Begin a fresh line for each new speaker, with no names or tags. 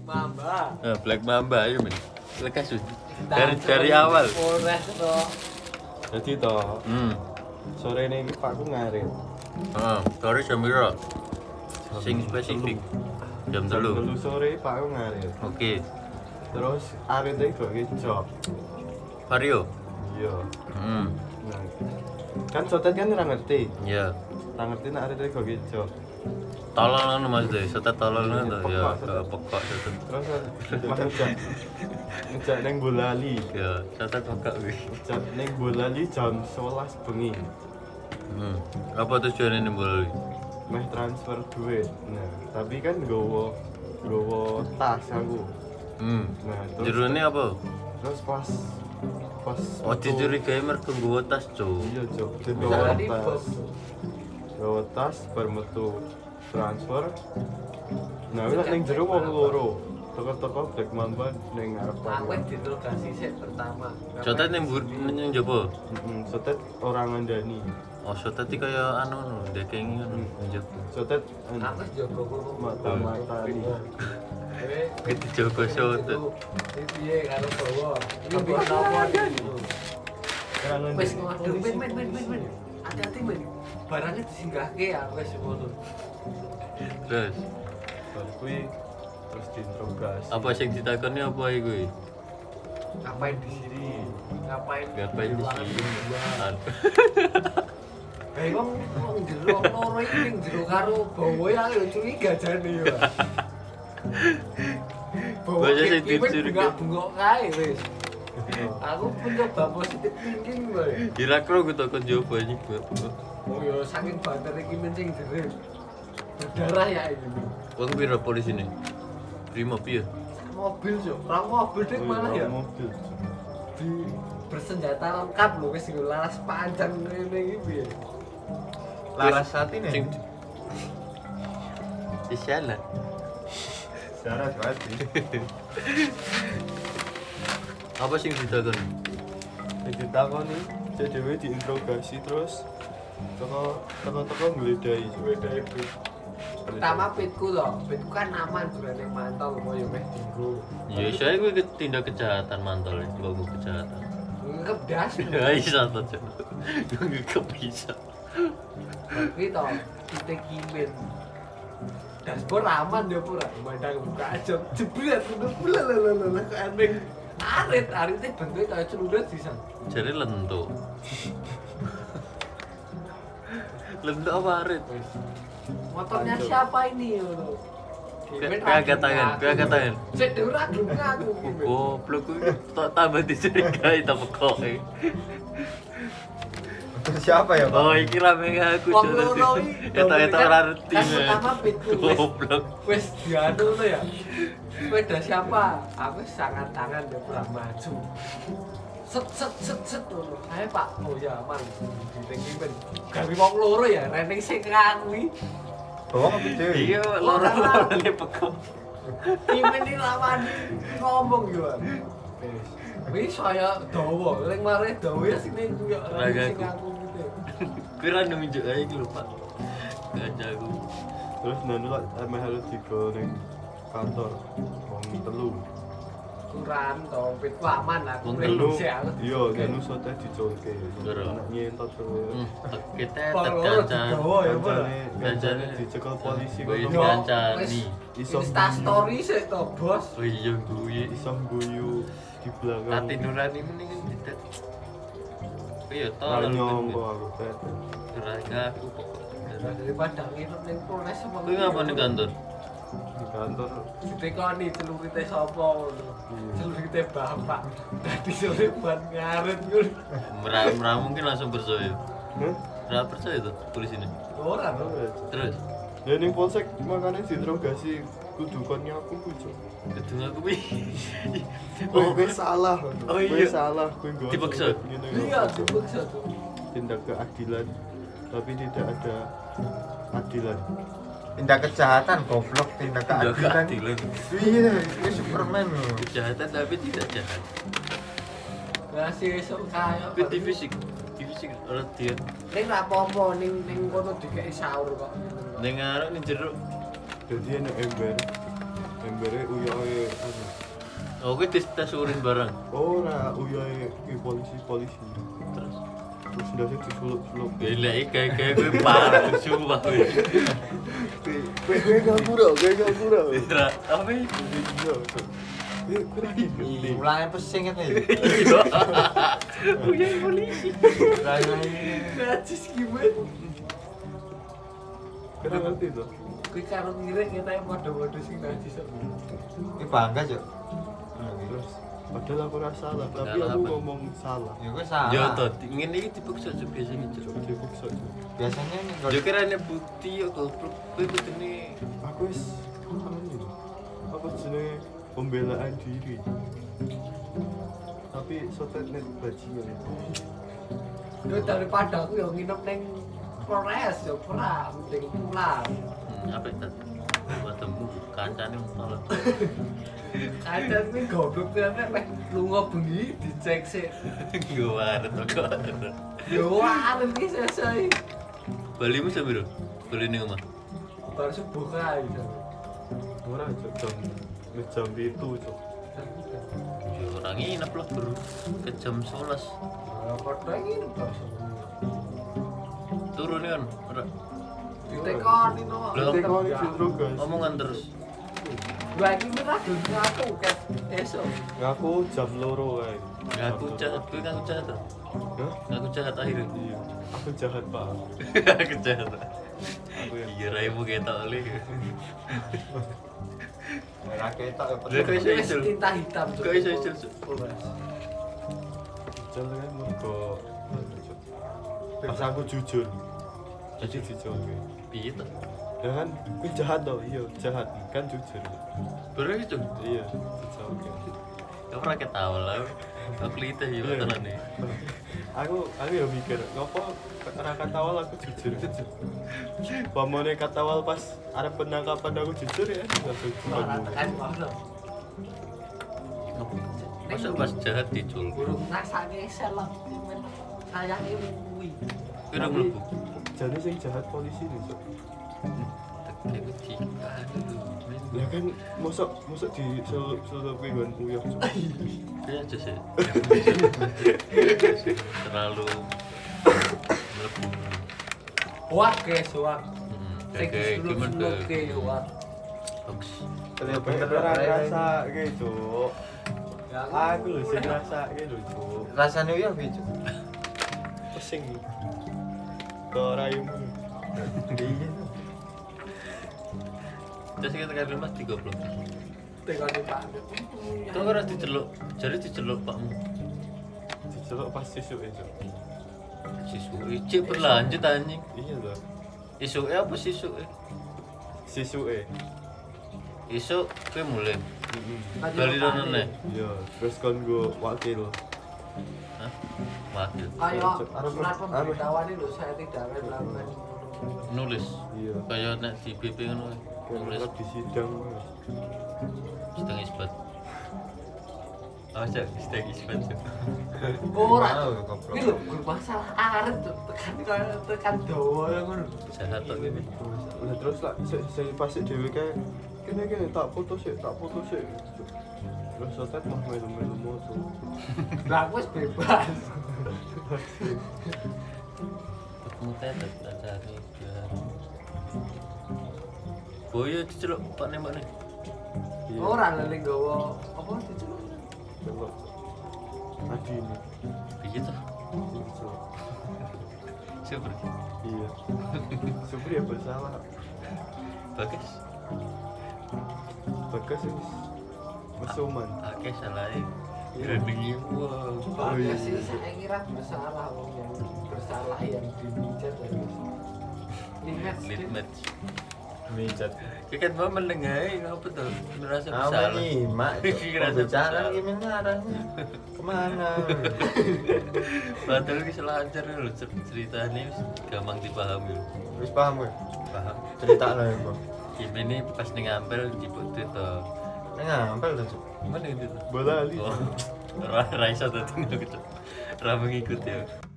Mamba.
Eh, Black Mamba ayo men. Lekas Bun. Dari
Tangkep
dari awal.
Polres to.
Jadi toh
Hmm.
sore ini Pak aku ngarit.
Heeh, dari jam piro? Sing spesifik. Jam 3.
Telu sore Pak aku ngarit.
Oke.
Terus arit iki kok iki job.
Vario.
Iya.
Hmm.
Nah, kan sotet kan ora ngerti.
Ya.
Ora ngerti nek arit iki kok iki job.
Tolong anu Mas deh, setet tolong anu toh. ya,
Pekok,
eh, pekok setet.
Terus kan Mas ngejak ngejak neng Bolali.
Ya, setet pekok wih.
Ngejak neng Bolali jam 11 bengi.
Hmm. Apa tujuan ini boleh?
Meh transfer duit. Nah, tapi kan gowo gowo tas aku.
Hmm.
Nah, terus
Jerone apa?
terus pas pas
Oh,
metu-
dicurigai mergo nggawa tas, Cuk.
Iya, Cok.
Bisa
Gawa
jadi
tas.
bos.
Gawa tas bar metu transfer. Nah, wis ning jero wong loro. Toko-toko Black Mamba ning arep
Aku
pangkat.
diinterogasi sik pertama.
Jotet ning mbur ning jopo?
Heeh, sotet ora ngandani.
Oh, jotet iki kaya anu no, dekeng ngono ning jopo.
Sotet anu,
Aku jogo kono.
Mata-mata nih.
Kowe
Gitu jogo jotet.
Iki piye karo Bowo? Iki nopo?
ora
Wis
ngandani.
ngono. Men men men men men. Hati-hati men. Barangnya disinggahke ya wis ngono.
Terus
Bar kuwi terus diinterogasi.
apa sing ditakoni apa iku? ya?
Ngapain di sini?
Ini,
Ngapain?
Ngapain di
ruangan
sini?
berdua?
Anu.
Lah wong wong jero loro iki ning jero karo Bowo ya aku yo curiga jane yo. Bowo
Banyak
iki
yang dicurigai.
bengok bengok kae wis. Aku mencoba positive thinking wae.
Irakro ku takon jopo iki, Bu.
Oh yo saking banter iki mencing jere. Berdarah ya ini.
Wong piro polisine? Brimob ya?
Mobil yo, ora mobil dik malah ya
Oh, iya, Mobil.
di bersenjata lengkap lho wis nggo laras panjang ngene iki piye.
Larasati
Sing
nih.
Isyana.
Syarat pasti.
Apa sing ditakoni?
Jadi takoni, cek dhewe diinterogasi terus toko toko-toko ngledai, ngledai.
Pertama pitku lho, pitku kan aman durane mantau kok yo meh dinggo.
Ya saya gue tindak kejahatan mantol ya, gua gue kejahatan.
Ngekep das.
Ya bisa tuh Cok. Gue nggak bisa.
Tapi toh kita kimin. Dashboard aman ya pura, mandang buka aja. Jebret, jebret, lalalala, kok aneh. Arit, aritnya bentuknya kayak celurit sih, San.
Jadi lentuk. lentuk apa arit?
Wes. Motornya siapa ini? Lho?
Kayak agak tangan, kayak agak tangan.
Cek dia ora gelem ngaku Kimin.
Goblok gue tak tambah dicurigai tak ya. kok.
Siapa ya, Pak?
Oh, iki rame gak aku
Wong
Cok.
loro iki. kan
Eta eta ora ngerti.
Tas pertama pitu, wes.
Goblok.
Wes dianu tuh ya. Sepeda siapa? Aku sangat tangan dia pura maju. Set set set set lho. Ayo Pak. Oh ya aman. Ditinggi ben. Gawe wong loro ya reneng sing ngakui.
Bohong apa cuy?
Iya, loro-loro ne peko.
Imen iki lawan ngomong yo. Wes. Wis saya dawa, ning mare dawa ya sing ning yo reneng sing
Ragaku.
ngaku gitu.
Gue ra nunjuk ae iki lupa. Gak jago.
Terus nanti lah emang harus digoreng kantor wong telu.
Kurang to, pitku aman lah.
Wong
kurang
telu.
sih, aku.
Iya, kan sote dicolke.
Bener.
Anak nyentot
Hmm,
terus.
tak- kita
Wong loro
tergancan.
digawa ya, Pak.
Kancane- Kancane dicekel polisi
Gue
kok.
Yo,
dikancani.
wes,
Iso
Insta story sih to, Bos.
Oh iya gue
Iso guyu di belakang.
Hati nurani mendingan tidak Iya tol
Bareng nyongko aku Pet.
Nurani aku pokoknya
daripada nginep ning Polres sama
Gue ngapain di kantor?
Di kantor.
ditekoni celurite sapa ngono celurite bapak dadi sore buat ngaret ngono
Merah merah mungkin langsung percaya
Hah?
Merah percaya tuh tulis ini
ora lho
Terus
Ya ning polsek makane diinterogasi kudu kon nyapu ku Cuk.
Gedung aku pi
Oh, gue salah.
Oh, iya.
Gue salah, gue gak
Dipaksa.
iya dipaksa tuh
Tindak keadilan, tapi tidak ada adilan.
Tindak kejahatan, goblok, tindak
Gak
keadilan.
keadilan
Iya, ini Superman loh.
Kejahatan tapi tidak jahat
ngasih esuk kaya
Tapi di fisik Di fisik orang dia
ning ra apa-apa ning ning kono dikeki sahur kok
Dengar ini jeruk
Jadi enak ember. embere uyoe ano.
Oh, kuwi dis- tes urin bareng.
Ora uyoe kuwi polisi polisi.
Terus
Terus ndase disuluk-suluk.
gila iki kayak kuwi parah sumpah Iya. kuwi.
Kowe kowe gak pura, kowe gak pura.
Tidak, tapi
Iya. Kowe kowe lagi geli.
Mulai pesing kan ya.
iya. Kuwi polisi.
Najis gimana?
Kowe gak ngerti to.
Kui karo ngiring kita yang podo-podo sing najis sama.
Ini bangga cok.
Terus padahal aku ora salah, tapi
Padahal
aku
apa?
ngomong salah.
Ya gue salah.
Yo to, ngene iki dipaksa aja biasanya. Cuk.
Jadi paksa.
Biasanya nih
Yo
kalau
kira ini bukti yo goblok kuwi kudune
Aku wis anu. Apa jenenge pembelaan diri. Tapi sotet net bajingan
Yo daripada aku yang nginep neng Polres yo ora mending pulang.
Hmm, apa itu? Ketemu kancane malah.
Kacan kuwi goblok tenan meh lunga bengi dicek sik.
Gue tuh kok.
Yo arep iki selesai.
Balimu sambil Bali ning omah.
Bar subuh kae. Jan.
Ora cok jam wis jam 7 cok.
Ya ora nginep loh, Bro. Ke jam 11.
Lah padha nginep to.
Turun kan. Ora.
Ditekoni no.
Lah,
Tekoni justru guys.
Omongan terus.
Lah iki ora dudu aku ket esok.
Ngaku Ya jam loro kae.
Ya aku jahat, gue ngaku jahat. ah.
Hah?
Ngaku jahat akhirnya.
Iya. Aku jahat, Pak.
Aku jahat. ah.
Aku yang
Iya, raimu kayak tak oleh.
rakyat ya
Lah kok
peduli.
iso
Wis
iso.
tinta hitam. Cuk. Oh,
Kok iso isul, Cuk?
Polres.
jahat kan mergo pas aku jujur. Jadi jujur gue.
Piye to?
Ya kan, gue jahat tau, iya jahat kan jujur.
Bro itu.
Iya, jujur gue.
Kau pernah ketawa lah. Kau kelita ya
Iya.
tenan nih.
Aku aku ya mikir, ngopo ora katawal aku jujur. Pamone katawal pas arep penangkapan aku jujur ya.
Ora tekan kono.
Masa pas jahat dicul.
Burung rasane selek men. Sayange kuwi.
Kira mlebu.
Jadi sing jahat polisi nih, Cok.
Tegak cikan itu.
Ya kan, mosok mosok di selup selup gue gue uyah. Cok.
Ya aja sih. Terlalu mlebu.
Wah, guys, wah.
Hmm,
Sing
Kayak
dulu
cuman
dulu
ke
ke wah.
hoax.
Ya
Bener
bener
bener
Ray.
rasa gitu. Aku lho sing rasa gitu, Cok.
Rasanya ya gitu.
Pesing. Tuh raimu.
Iya.
Terus kita kali mas digoblok.
Tengok di Pak.
Itu harus diceluk. Jadi diceluk pakmu.
Dicelok pas sisuk ya, Cok.
Sisu cek e, berlanjut anjing.
Iya loh.
Isuke apa e? sisuke?
Sisuk eh.
Isuk kowe mulai.
Tanya
Bali
Pak
nang
nih.
nene.
Iya, terus kon gue Ya, wakil. lah.
Hah? Wakil.
Kayak
Arep-
surat
arep-
pemberitahuan ini lho saya tidak akan melakukan.
Nulis.
Iya.
Kayak nek di BP ngono. e, Nulis
Kalau Ya. Kan, di sidang. Mas.
sedang isbat. Apa cek sedang isbat cek.
Ora.
Malu, ya, goblok.
Ini lho guru masalah arep tuh tekan kaya tekan dawa yang ngono.
Jahat tok kowe.
Udah terus lah, saya se pasti dewe kayak kene kene kan, tak foto sih, tak foto sih. Terus sotet mah melu melu moto.
Lah aku wis bebas.
Ketemu tetet ada hari biar. Boyo diceluk Pak nembak nih.
Ya,
Ora lele gawa apa diceluk.
Belok. Adi ini.
Piye to?
ini celok.
Super.
Iya. Supri ya bersalah.
Bagus.
Bagas ini Mesuman.
Oke salah.
Iya.
Gandeng wow.
Pak
Oh, iya.
sih saya kira bersalah wong yang bersalah yang dipijat lagi. Limet.
Lead match.
Mijat.
Kita kan mau mendengar, apa tuh? Merasa
Apa
bersalah.
nih, Mak? Cok?
Kira-kira
Pembicaraan
bersalah.
gimana arahnya? Kemana?
Padahal ini selancar lho cer- ceritanya wis gampang dipahami lho.
Wis paham gue.
Paham.
Cerita lo ya, Bro.
Kim ini pas ning ngampel dibutuh to.
Ini ngampel tuh, Cok.
Mana itu? to?
Bola ali.
Oh. Ra ra iso dadi ngono gitu. Ra mengikuti aku.